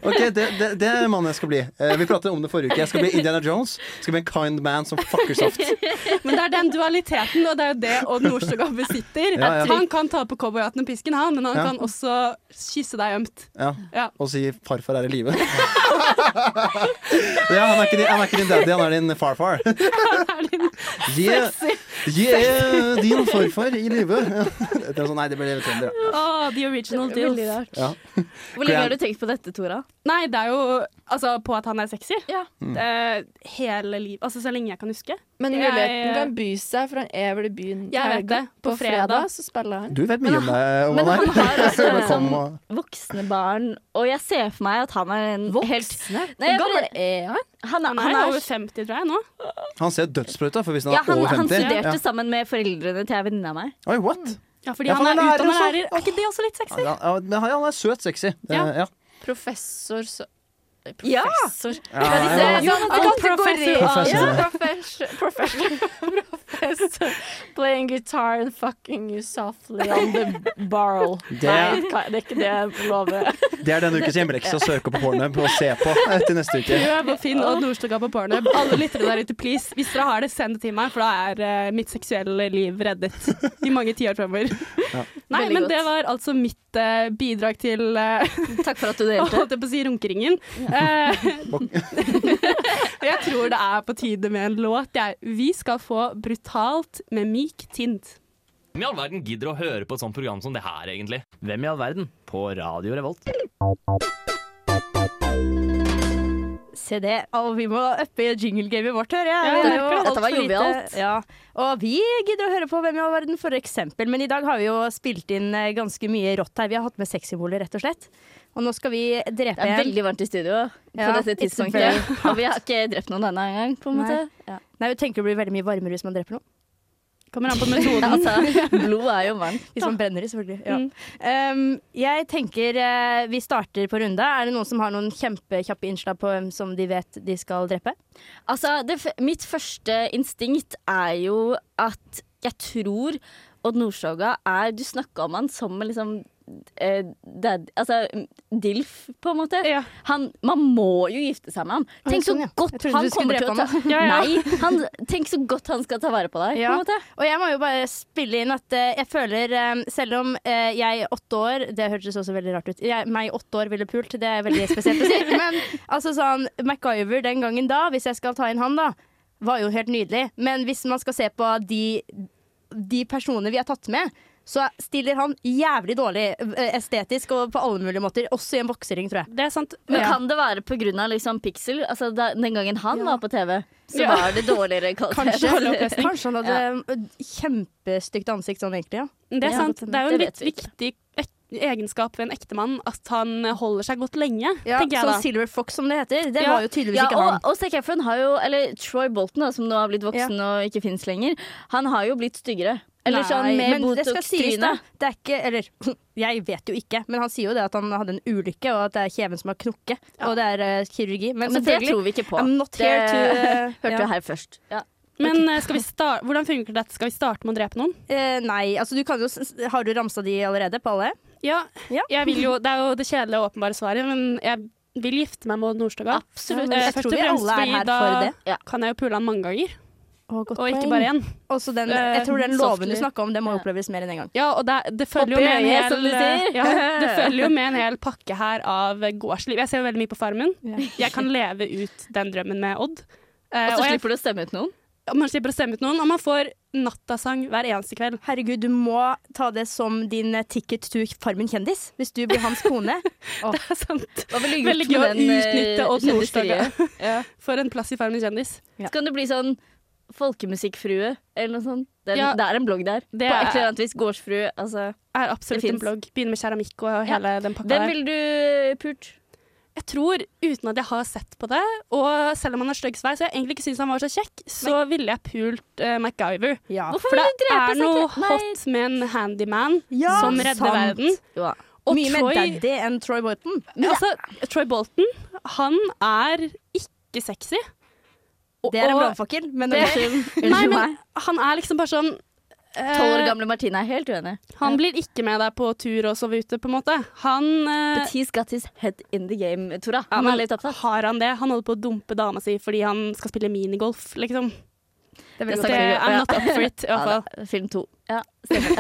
S5: Ok, det, det, det er mannen jeg skal bli. Eh, vi pratet om det forrige uke. Jeg skal bli Indiana Jones. Jeg skal bli en kind man som fucker soft.
S4: Men det er den dualiteten, og det er jo det Odd Nordstoga besitter.
S5: Ja, ja.
S4: Han kan ta på cowboyhatten og pisken, han, men han
S5: Ja.
S4: kan også kysse deg ømt.
S5: Ja.
S4: Ja.
S5: Og si 'farfar er i live'. ja, han er, ikke din, han er ikke din daddy, han er din farfar. Gi din farfar i live. Det er sånn, nei, det ble trønder, ja.
S4: Åh, the original deal.
S3: Veldig rart.
S5: ja.
S3: Hvor lenge har du tenkt på dette, Tora?
S4: Nei, det er jo altså, på at han er sexy.
S3: Ja.
S5: Mm.
S4: Eh, hele livet. Altså så lenge jeg kan huske.
S6: Men
S4: Jeg-
S6: muligheten kan by seg, for han er vel i byen
S4: Jeg
S6: til
S4: vet
S6: helga.
S4: det.
S6: På,
S4: På
S6: fredag.
S4: fredag.
S6: så spiller han.
S5: Du vet mye om deg, om
S3: Men
S5: han
S3: han
S5: er.
S3: har også
S5: Velkommen,
S3: liksom
S5: og-
S3: voksne barn, og jeg ser for meg at han er en helt
S6: Voksne?
S3: Nei, jeg
S6: Hvor gammel
S3: bare-
S6: er han?
S3: Han er,
S4: Han er, over 50, tror jeg, nå.
S5: Han ser dødsprøyt ut, for hvis han
S3: ja,
S5: er
S3: han,
S5: over
S3: han
S5: 50
S3: studerte
S5: ja.
S3: sammen med foreldrene til ei venninne av meg.
S5: Oi, what?
S4: Ja, fordi
S5: Ja,
S4: han
S5: for
S4: er
S5: han er lærer
S4: utdannet
S5: også.
S4: lærer. Er ikke det også litt sexy?
S5: Ja, ja, men han han er søt sexy. Det-
S4: Ja.
S5: ja.
S6: Professor så eh,
S3: Ja!
S6: Professor.
S5: Ja, ja, ja. Professor.
S6: Ja, professor. professor. professor. Playing guitar and fucking you softly on the barrel.
S5: Det er-
S6: Nei, det er ikke det jeg lover.
S5: Det er denne ukes hjemmelekse å søke på pornhub og se på eh, til neste uke.
S4: Prøv å finne Odd Nordstoga på pornhub. Alle lyttere der ute, please. Hvis dere har det, send det til meg, for da er eh, mitt seksuelle liv reddet i mange tiår fremover.
S5: Ja.
S4: Nei,
S3: Veldig
S4: men
S3: godt.
S4: det var altså mitt eh, bidrag til eh,
S3: Takk for at du
S4: Jeg
S3: delte.
S4: holdt jeg på å si runkeringen. Eh, jeg tror det er på tide med en låt. Jeg. Vi skal få Brutalt med myk tint.
S8: Hvem i all verden gidder å høre på et sånt program som det her, egentlig? Hvem i all verden? På Radio Revolt.
S2: Se det. Og vi må uppe jinglegamet vårt, hører jeg.
S4: Ja,
S2: Det er
S4: jeg
S2: jo
S4: merker det.
S2: alt
S3: Dette var
S2: for lite.
S3: jovialt.
S2: Ja. Og vi gidder å høre på Hvem i all verden, for eksempel. Men i dag har vi jo spilt inn eh, ganske mye rått her. Vi har hatt med sexsymboler, rett og slett. Og nå skal vi drepe
S3: Det er veldig varmt i studio på
S2: Ja, it's
S3: dette
S2: very
S3: tidspunktet. Og vi har ikke drept noen ennå engang, på en måte.
S2: Nei. Ja. Nei, jeg tenker det blir veldig mye varmere hvis man dreper noen.
S4: Kommer an på
S3: Ja,
S4: metoden.
S3: altså, blod er jo varmt.
S2: Hvis man brenner i, selvfølgelig. Ja. Um, jeg tenker eh, vi starter på runde. Er det noen som har noen kjempekjappe innslag på hvem som de vet de skal drepe?
S3: Altså, det, f- mitt første instinkt er jo at jeg tror Odd Nordstoga er Du snakka om han som en liksom eh, dad, altså, Dilf, på en måte.
S4: Ja.
S3: Han, man må jo gifte seg med ham.
S2: Å,
S3: Tenk så
S2: sånn, ja. Jeg
S3: godt
S2: trodde
S3: han
S2: du skulle
S3: kommer
S2: drepe
S3: til å ta
S4: Ja, ja.
S3: Nei, han, tenk så godt han skal ta vare på deg.
S2: Ja.
S3: På en måte.
S2: Og jeg må jo bare spille inn at eh, jeg føler eh, Selv om eh, jeg åtte år Det hørtes også veldig rart ut. Jeg, meg åtte år ville pult, det er veldig spesielt å si. Men altså sånn MacGyver den gangen da, hvis jeg skal ta inn han, da, var jo helt nydelig. Men hvis man skal se på de, de personene vi har tatt med, så stiller han jævlig dårlig eh, estetisk og på alle mulige måter. Også i en boksering, tror jeg.
S4: Det er sant.
S3: Men
S2: Ja.
S3: kan det være pga. Liksom Pixel? Altså, da, den gangen han var på TV, så
S4: Ja.
S3: var det dårligere kvalitet.
S2: Kanskje han hadde eh, kjempestygt ansikt sånn egentlig, ja.
S4: Det er,
S3: Ja,
S4: sant.
S3: godt,
S4: Det er jo en
S3: det
S4: litt
S3: vet vi
S4: viktig ek- egenskap ved en ektemann at han holder seg godt lenge,
S2: ja
S4: tenker jeg
S2: sånn
S4: da.
S2: Silver Fox, som det heter. Det
S4: Ja.
S2: var jo tydeligvis
S3: Ja,
S2: ikke han.
S3: og, og Zac Efron har jo Eller Troy Bolton, da, som nå har blitt voksen og ikke fins lenger, han har jo blitt styggere. Eller sånn med
S2: men det skal sies da.
S3: Botox-tryne.
S2: Det er ikke, eller jeg vet jo ikke, men han sier jo det at han hadde en ulykke, og at det er kjeven som har knokke, og det er eh, kirurgi. Men,
S3: Men det
S2: selvfølgelig,
S3: tror vi ikke på.
S2: I'm not
S3: Det
S2: here to eh, ja.
S3: hørte du her først. Ja.
S4: Men eh, skal vi sta- hvordan funker dette? Skal vi starte med å drepe noen?
S2: Eh, nei, altså du kan jo s- s- Har du ramsa de allerede, på alle?
S4: Ja,
S2: Ja.
S4: jeg vil jo, det er jo det kjedelige og åpenbare svaret, men jeg vil gifte meg med Odd Nordstoga.
S3: Absolutt.
S4: Eh,
S2: Jeg
S4: først
S2: tror vi
S4: og fremst
S2: alle er
S4: fordi
S2: her
S4: da
S2: for det.
S4: kan jeg jo pule han mange ganger,
S2: Å, godt
S4: og ikke
S2: poeng.
S4: bare én.
S2: Også den,
S4: Eh,
S2: jeg tror den låven du
S3: softly.
S2: snakka om, det må oppleves mer enn én en gang.
S4: Ja, og det, det følger jo
S3: Opp i
S4: med en
S2: E,
S3: øyet, som
S4: hel, eh,
S3: de sier.
S4: ja, det følger jo med en hel pakke her av gårdsliv. Jeg ser jo veldig mye på Farmen. Jeg kan leve ut den drømmen med Odd. Eh,
S3: Og
S4: og
S3: så
S4: jeg,
S3: slipper du å stemme ut noen.
S4: og man slipper å stemme ut noen, og man får nattasang hver eneste kveld.
S2: Herregud, du må ta det som din eh, ticket to Farmen kjendis, hvis du blir hans kone.
S4: Det er sant.
S3: Hva ville du
S4: Veldig gøy
S2: eh,
S4: å utnytte Odd Nordstoga
S3: Ja.
S4: for en plass i Farmen kjendis.
S2: Ja.
S3: Så kan du bli sånn folkemusikkfrue eller noe sånt. Det er,
S4: Ja.
S3: det er en blogg der.
S4: Det
S3: På
S4: er-
S3: et eller annet vis. Gårdsfrue. Altså.
S4: Er
S3: Det
S4: absolutt
S3: finnes.
S4: en blogg. Begynner med keramikk og
S3: Ja.
S4: hele den pakka
S3: Hvem
S4: der.
S3: ville du pult?
S4: Jeg tror, uten at jeg har sett på det, og selv om han har stygg sveis, og jeg egentlig ikke syns han var så kjekk, så ville jeg pult eh, MacGyver.
S2: Ja.
S3: Hvorfor
S4: For
S3: vil
S4: det
S3: du drepe
S4: er noe
S3: seg? Ah,
S4: hot med en handyman
S2: Ja,
S4: som redder
S2: sant.
S4: verden.
S3: Ja.
S4: Og
S2: Mye mer
S4: Troy,
S2: daddy enn Troy Boyton.
S4: men altså, Troy Bolton, han er ikke sexy. Og-
S2: Det er en
S4: og-
S2: brannfakkel, men
S4: Det-
S2: unnskyld
S4: Nei,
S2: unnskyld meg.
S4: men han er liksom bare sånn eh,
S3: Tolv år gamle Martine er helt uenig.
S4: Han blir ikke med deg på tur og sove ute, på en måte. Han eh,
S3: But he's got his head in the game, Tora.
S4: Ja,
S3: Han
S4: men
S3: er litt opptatt.
S4: Har han det? Han holder på å dumpe dama si fordi han skal spille minigolf, liksom.
S2: Det er
S3: Det
S2: veldig godt.
S3: er
S4: Det,
S3: Snakker vi-
S4: I'm
S3: ja.
S4: not up for it, i hvert
S3: Ja,
S4: fall.
S3: da, film to. Ja, stemmer.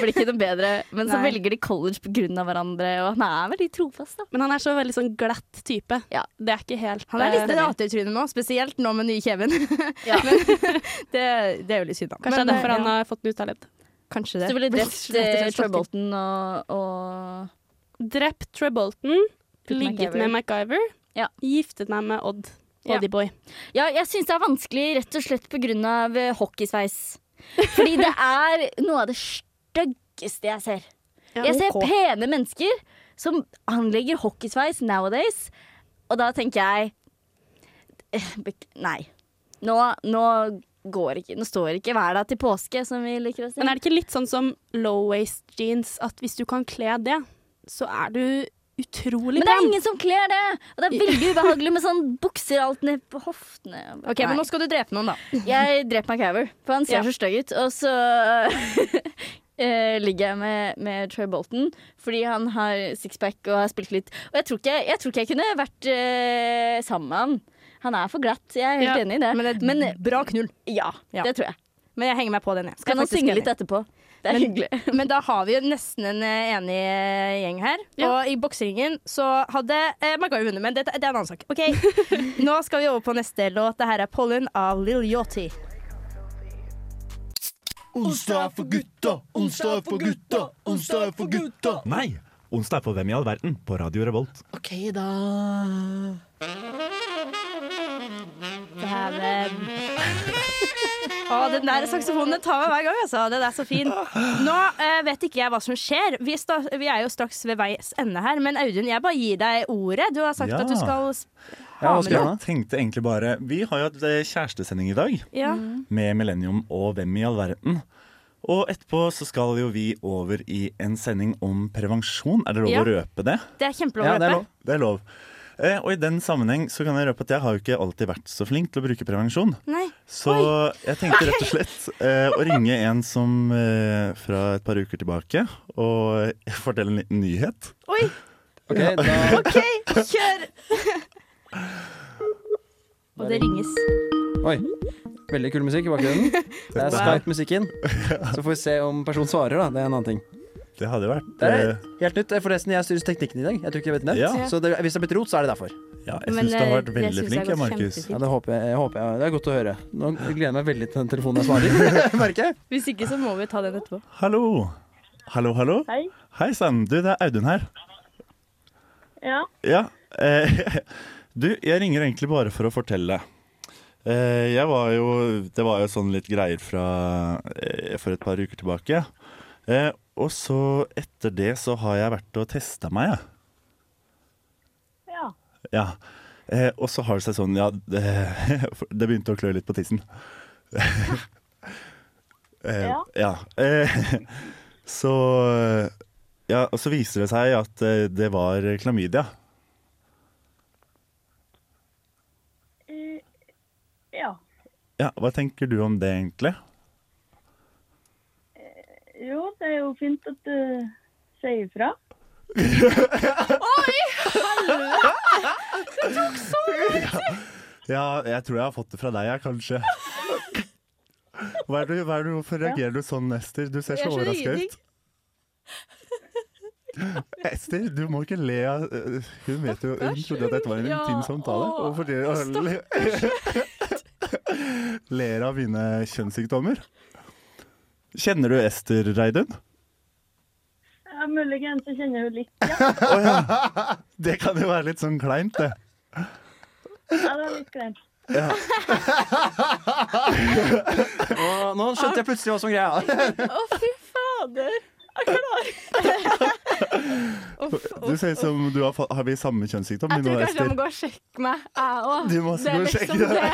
S3: Blir ikke noe bedre. Men så
S2: Nei.
S3: velger de college på grunn av hverandre, og han er veldig trofast, da.
S4: Men han er så veldig sånn glatt type.
S3: Ja.
S4: Det er ikke helt
S2: Han er litt
S4: eh,
S2: teatertryne nå, spesielt nå med nye kjeven.
S3: Ja.
S2: men det, det er jo litt synd, da.
S4: Kanskje det er
S2: Men,
S4: derfor han
S2: ja,
S4: har fått den ut av ledd.
S2: Kanskje
S3: Så
S2: det.
S3: du ville drept eh, Troy
S2: slaktet.
S3: Bolton og, og
S4: Drept Troy Bolton,
S3: Put
S4: ligget
S3: MacGyver.
S4: med MacGyver,
S3: Ja.
S4: giftet meg med Odd.
S3: Ja.
S4: Oddyboy.
S3: Ja, jeg syns det er vanskelig rett og slett på grunn av eh, hockeysveis. Fordi det er noe av det styggeste jeg ser. Jeg ser pene mennesker som anlegger hockeysveis nowadays, og da tenker jeg eh, bek- Nei. Nå, nå går ikke Nå står ikke hver dag til påske, som vi liker å si.
S4: Men er det ikke litt sånn som low waist jeans, at hvis du kan kle det, så er du utrolig
S3: Men det er
S4: pen?
S3: ingen som kler det! Og det er veldig ubehagelig med sånn bukser alt ned på hoftene.
S2: OK, men nå skal du drepe noen, da.
S3: Nei. Jeg dreper MacGyver, for han ser
S4: Ja.
S3: så stygg ut. Og så eh, ligger jeg med, med Troy Bolton fordi han har sixpack og har spilt litt. Og jeg tror ikke jeg, tror ikke jeg kunne vært eh, sammen med han. Han er for glatt, jeg er helt
S4: Ja,
S3: enig i det.
S2: Men det er
S3: Men eh,
S2: et bra knull.
S3: ja,
S2: Ja.
S3: det tror jeg.
S2: Men jeg henger meg på den, jeg. Skal
S3: Kan han
S2: faktisk
S3: synge
S2: enig.
S3: litt etterpå? Det er
S2: Men-
S3: hyggelig.
S2: Men da har vi jo nesten en eh, enig eh, gjeng her.
S4: Ja.
S2: Og i bokseringen så hadde eh, Magai vunnet, men det, det er en annen sak. Ok, Nå skal vi over på neste låt. Det her er Pollen av Lil Yachty.
S9: Onsdag er for gutta, onsdag er for gutta, onsdag er for gutta.
S1: Nei! Onsdag er på Hvem i all verden på Radio Revolt.
S9: OK, da.
S2: Dæven. ehm, Å, den der saksofonen den tar meg hver gang, altså. Den er så fin. Nå eh, vet ikke jeg hva som skjer. Vi, sta vi er jo straks ved veis ende her. Men Audun, jeg bare gir deg ordet. Du har sagt
S1: Ja.
S2: at du skal s-
S5: Ja,
S2: ha
S5: hva
S2: med
S5: skal jeg
S2: noe.
S5: ha?
S1: Jeg tenkte egentlig bare Vi har jo hatt eh, kjærestesending i dag
S2: Ja.
S1: med Millennium og Hvem i all verden. Og etterpå så skal jo vi over i en sending om prevensjon. Er det lov
S2: Ja.
S1: å røpe det?
S2: Det er kjempelov
S5: Ja,
S2: å
S5: det er
S2: løpe.
S5: lov.
S1: Det er lov. Eh, og i den sammenheng så kan jeg røpe at jeg har jo ikke alltid vært så flink til å bruke prevensjon.
S2: Nei.
S1: Så jeg tenkte rett og slett eh, å ringe en som eh, fra et par uker tilbake, og fortelle en liten nyhet.
S2: Oi,
S5: Ok, da
S2: OK, kjør! Og det ringes.
S5: Oi. Veldig kul musikk i bakgrunnen. Det er Skype-musikken. Så får vi se om personen svarer, da. Det er en annen ting.
S1: Det hadde vært
S5: Det er
S1: eh,
S5: helt nytt. Forresten, jeg styrer teknikken i dag. Jeg tror ikke jeg vet nødt.
S1: Ja.
S5: Så det, hvis det har blitt rot, så er det derfor.
S1: Ja, jeg
S2: Men,
S1: syns du har vært
S2: eh, jeg
S1: veldig
S2: synes jeg
S1: flink,
S2: har
S1: jeg,
S2: gått
S1: Markus.
S2: kjempefint.
S5: Ja, det håper jeg, jeg, håper jeg. Det er godt å høre. Nå gleder jeg meg veldig til den telefonen jeg svarer. Merker jeg.
S2: Hvis ikke, så må vi ta den etterpå.
S1: Hallo. Hallo, hallo. Hei. sann. Du, det er Audun her. Ja. eh, du, jeg ringer egentlig bare for å fortelle. Eh, jeg var jo Det var jo sånn litt greier fra eh, for et par uker tilbake. Eh, og så etter det så har jeg vært og testa meg, jeg. Ja. Eh, og så har det seg sånn, ja Det, det begynte å klø litt på tissen. Eh, ja. Eh, så Ja, og så viser det seg at eh, det var klamydia.
S10: Ja.
S1: Ja, hva tenker du om det, egentlig?
S10: Jo, det er jo fint at du sier ifra.
S1: Ja, jeg tror jeg har fått det fra deg, jeg, kanskje. Hva er det, hva er det, hvorfor reagerer du sånn, Ester? Du ser så
S6: Jeg er så
S1: overraska ut. Ester, du må ikke le av øh, Hun vet jo, hun trodde at dette var en
S6: Ja,
S1: intim samtale.
S6: å,
S1: Hvorfor det, ler av mine kjønnssykdommer? Kjenner du Ester, Reidun?
S10: Ja, muligens så kjenner jeg jo litt, ja.
S1: Det kan jo være litt sånn kleint, det.
S10: ja det er litt kleint.
S5: Og nå skjønte jeg plutselig hva som er greia.
S1: Du ser ut som du har, fa- har vi samme kjønnssykdom,
S6: Jeg
S1: min
S6: tror
S1: og
S6: kanskje jeg
S1: Ester.
S6: må gå og sjekke meg, jeg òg.
S1: Du må
S6: Det er
S1: gå og sjekke
S6: liksom
S1: deg.
S6: det. Jeg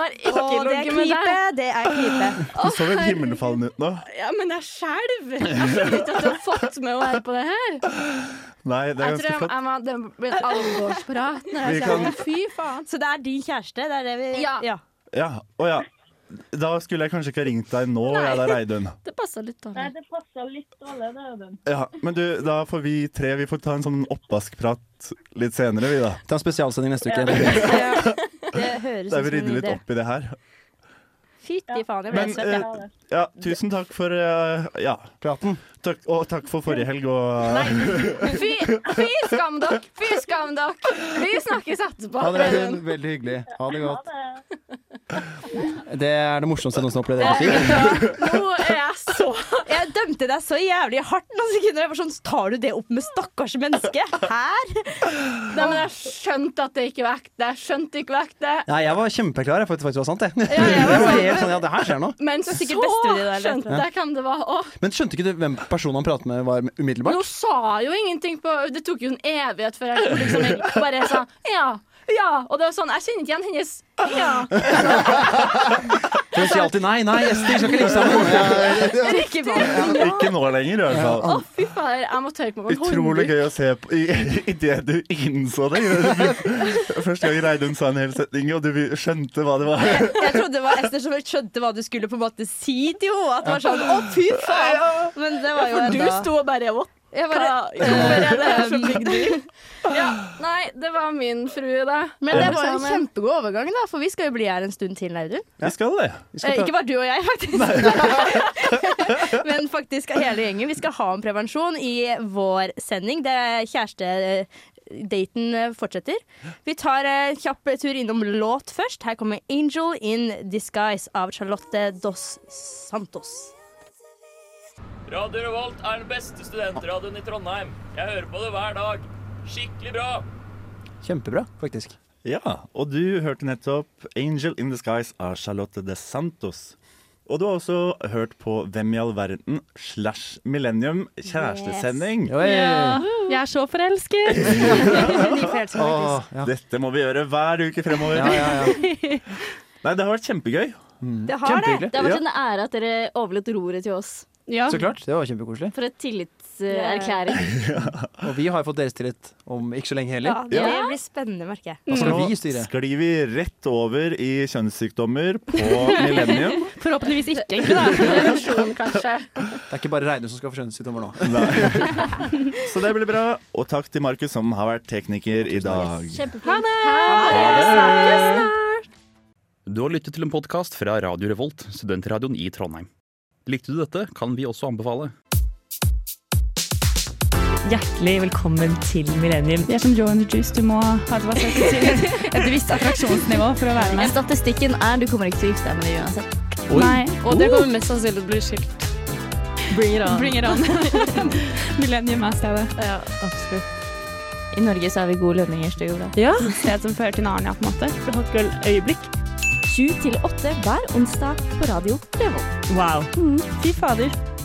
S6: har ikke
S2: Å, det er
S6: ligget med
S2: knipe!
S6: deg.
S2: Det er knipe.
S1: Du så helt himmelfallen ut nå.
S6: Ja, men jeg skjelver. Jeg skjønner ikke at du har fått med henne her på det her.
S1: Nei,
S6: Jeg
S1: det er
S6: tror
S1: ganske
S6: jeg,
S1: flott.
S6: jeg må det blir en alvorsprat når
S1: Vi
S6: jeg ser
S1: kan-
S6: det. Fy faen.
S2: Så det er din kjæreste? Det er det vi
S6: Ja.
S1: Ja, å ja. Da skulle jeg kanskje ikke ha ringt deg nå, jeg da, Reidun.
S6: Det passa litt
S10: Nei,
S6: dårlig.
S10: det passer litt dårlig, det, Audun.
S1: Ja, men du, da får vi tre Vi får ta en sånn oppvaskprat litt senere, vi, da.
S5: Ta en spesialsending neste uke.
S2: Det høres ut
S1: Der vi
S2: som en
S1: rydder litt
S2: idé.
S1: opp i det her.
S2: Fytti faen, jeg ble
S1: Men
S2: svett. jeg.
S1: eh, ja, tusen takk for eh, Ja.
S5: Praten.
S1: Takk, og takk for forrige helg og
S6: Fy, fy skam dere! Fy skam dere! Vi snakkes etterpå.
S5: Ha det,
S6: Preben.
S5: Reidun. Veldig hyggelig. Ha det
S10: Ha
S5: godt.
S10: det.
S5: Det er det morsomste jeg noensinne har opplevd. i hele mitt liv.
S6: Nå er jeg så
S2: Jeg dømte deg så jævlig hardt noen sekunder. Jeg var sånn, Tar du det opp med stakkars menneske her?
S6: Nei, men jeg skjønte at det ikke var ekte. Jeg skjønte ikke var ekte.
S5: Nei, jeg var kjempeklar jeg, for at det faktisk var sant, jeg.
S6: Ja, jeg var
S5: Det var
S6: sånn-
S5: helt sånn, ja, det her skjer nå.
S6: Men så
S2: sikkert bestevenninna di, eller?
S6: skjønte jeg hvem det var. Og
S5: Men skjønte ikke du hvem personen han pratet med, var
S6: nå
S5: umiddelbart?
S6: sa jeg jo ingenting på Det tok jo en evighet før jeg liksom egentlig bare sa ja. Ja. Og det var sånn, jeg kjenner ikke igjen hennes ja.
S5: For Hun sier alltid nei, nei, Ester, skal ikke liksom ligge sammen. Ja, ja.
S6: Rikkevold.
S1: Ikke nå lenger, i hvert
S6: Å,
S1: fall.
S6: fy fader. Jeg må tørke meg på en
S1: Utrolig
S6: håndduk.
S1: gøy å se på i- idet du innså det. Første gang Reidun sa en hel setning, og du skjønte hva det var.
S2: Jeg trodde det var Ester som skjønte hva du skulle på en måte si til henne. At det var sånn, å fy faen Men det var jo
S6: For du
S2: enda-
S6: sto og bare what?
S2: Jeg bare,
S6: Hva- Hvorfor er det her så big deal? Ja. Nei, det var min frue, da.
S2: men det var jo en
S6: Sammen.
S2: kjempegod overgang, da, for vi skal jo bli her en stund til, Audun.
S1: Vi skal det.
S2: Eh,
S5: Vi skal
S2: ikke
S5: ta-
S2: bare du og jeg, faktisk. Men faktisk hele gjengen. Vi skal ha om prevensjon i vår sending. Det er kjærestedaten fortsetter. Vi tar en kjapp tur innom låt først. Her kommer 'Angel In Disguise' av Charlotte Dos Santos.
S8: Radio Revolt er den beste studentradioen i Trondheim. Jeg hører på det hver dag. Skikkelig bra.
S5: Kjempebra, faktisk.
S1: Ja, og du hørte nettopp 'Angel in the Skies' av Charlotte de Santos. Og du har også hørt på Hvem i all verden slash Millennium kjærestesending.
S5: Oi.
S4: Ja, jeg er så forelsket.
S5: Åh, ja.
S1: Dette må vi gjøre hver uke fremover.
S5: Ja, ja, ja.
S1: Nei, det har vært kjempegøy.
S3: Det
S5: har det. Kjempehyggelig.
S3: Det har vært en ære at dere overlot roret til oss.
S4: Ja.
S5: Så klart, det var kjempekoselig.
S3: For et tillitserklæring.
S5: Og vi har fått deres tillit om ikke så lenge heller.
S2: Ja, det
S3: Ja.
S2: blir spennende, merker jeg.
S5: Hva skal
S1: Nå
S5: Altså, vi styre?
S1: sklir vi rett over i kjønnssykdommer på Millennium.
S4: Forhåpentligvis ikke, egentlig. da.
S6: Relasjon, kanskje.
S5: Det er ikke bare Reidun som skal få skjønnhetssykdommer nå.
S1: Så det blir bra. Og takk til Markus, som har vært tekniker i dag.
S3: Kjempefint.
S11: Du har lyttet til en podkast fra Radio Revolt, studentradioen i Trondheim. Likte du dette, kan vi også anbefale.
S12: Hjertelig velkommen til Millennium.
S4: Vi er som Joe and the Juice. Du må ha et, et visst attraksjonsnivå for å være med.
S3: Statistikken er du kommer ikke til å gifte deg med det uansett.
S4: Nei.
S12: Og det kommer mest sannsynlig til å bli skilt.
S3: Bring it on.
S4: Oh. Bring it on. Millennium er stedet.
S3: Ja, absolutt. I Norge så har vi gode lønninger, så det går bra.
S4: Sted som fører til Narnia, på en måte.
S12: Hotgirl øyeblikk.
S3: Sju til åtte hver onsdag på Radio Revolt.
S12: Wow.
S3: Fy fader.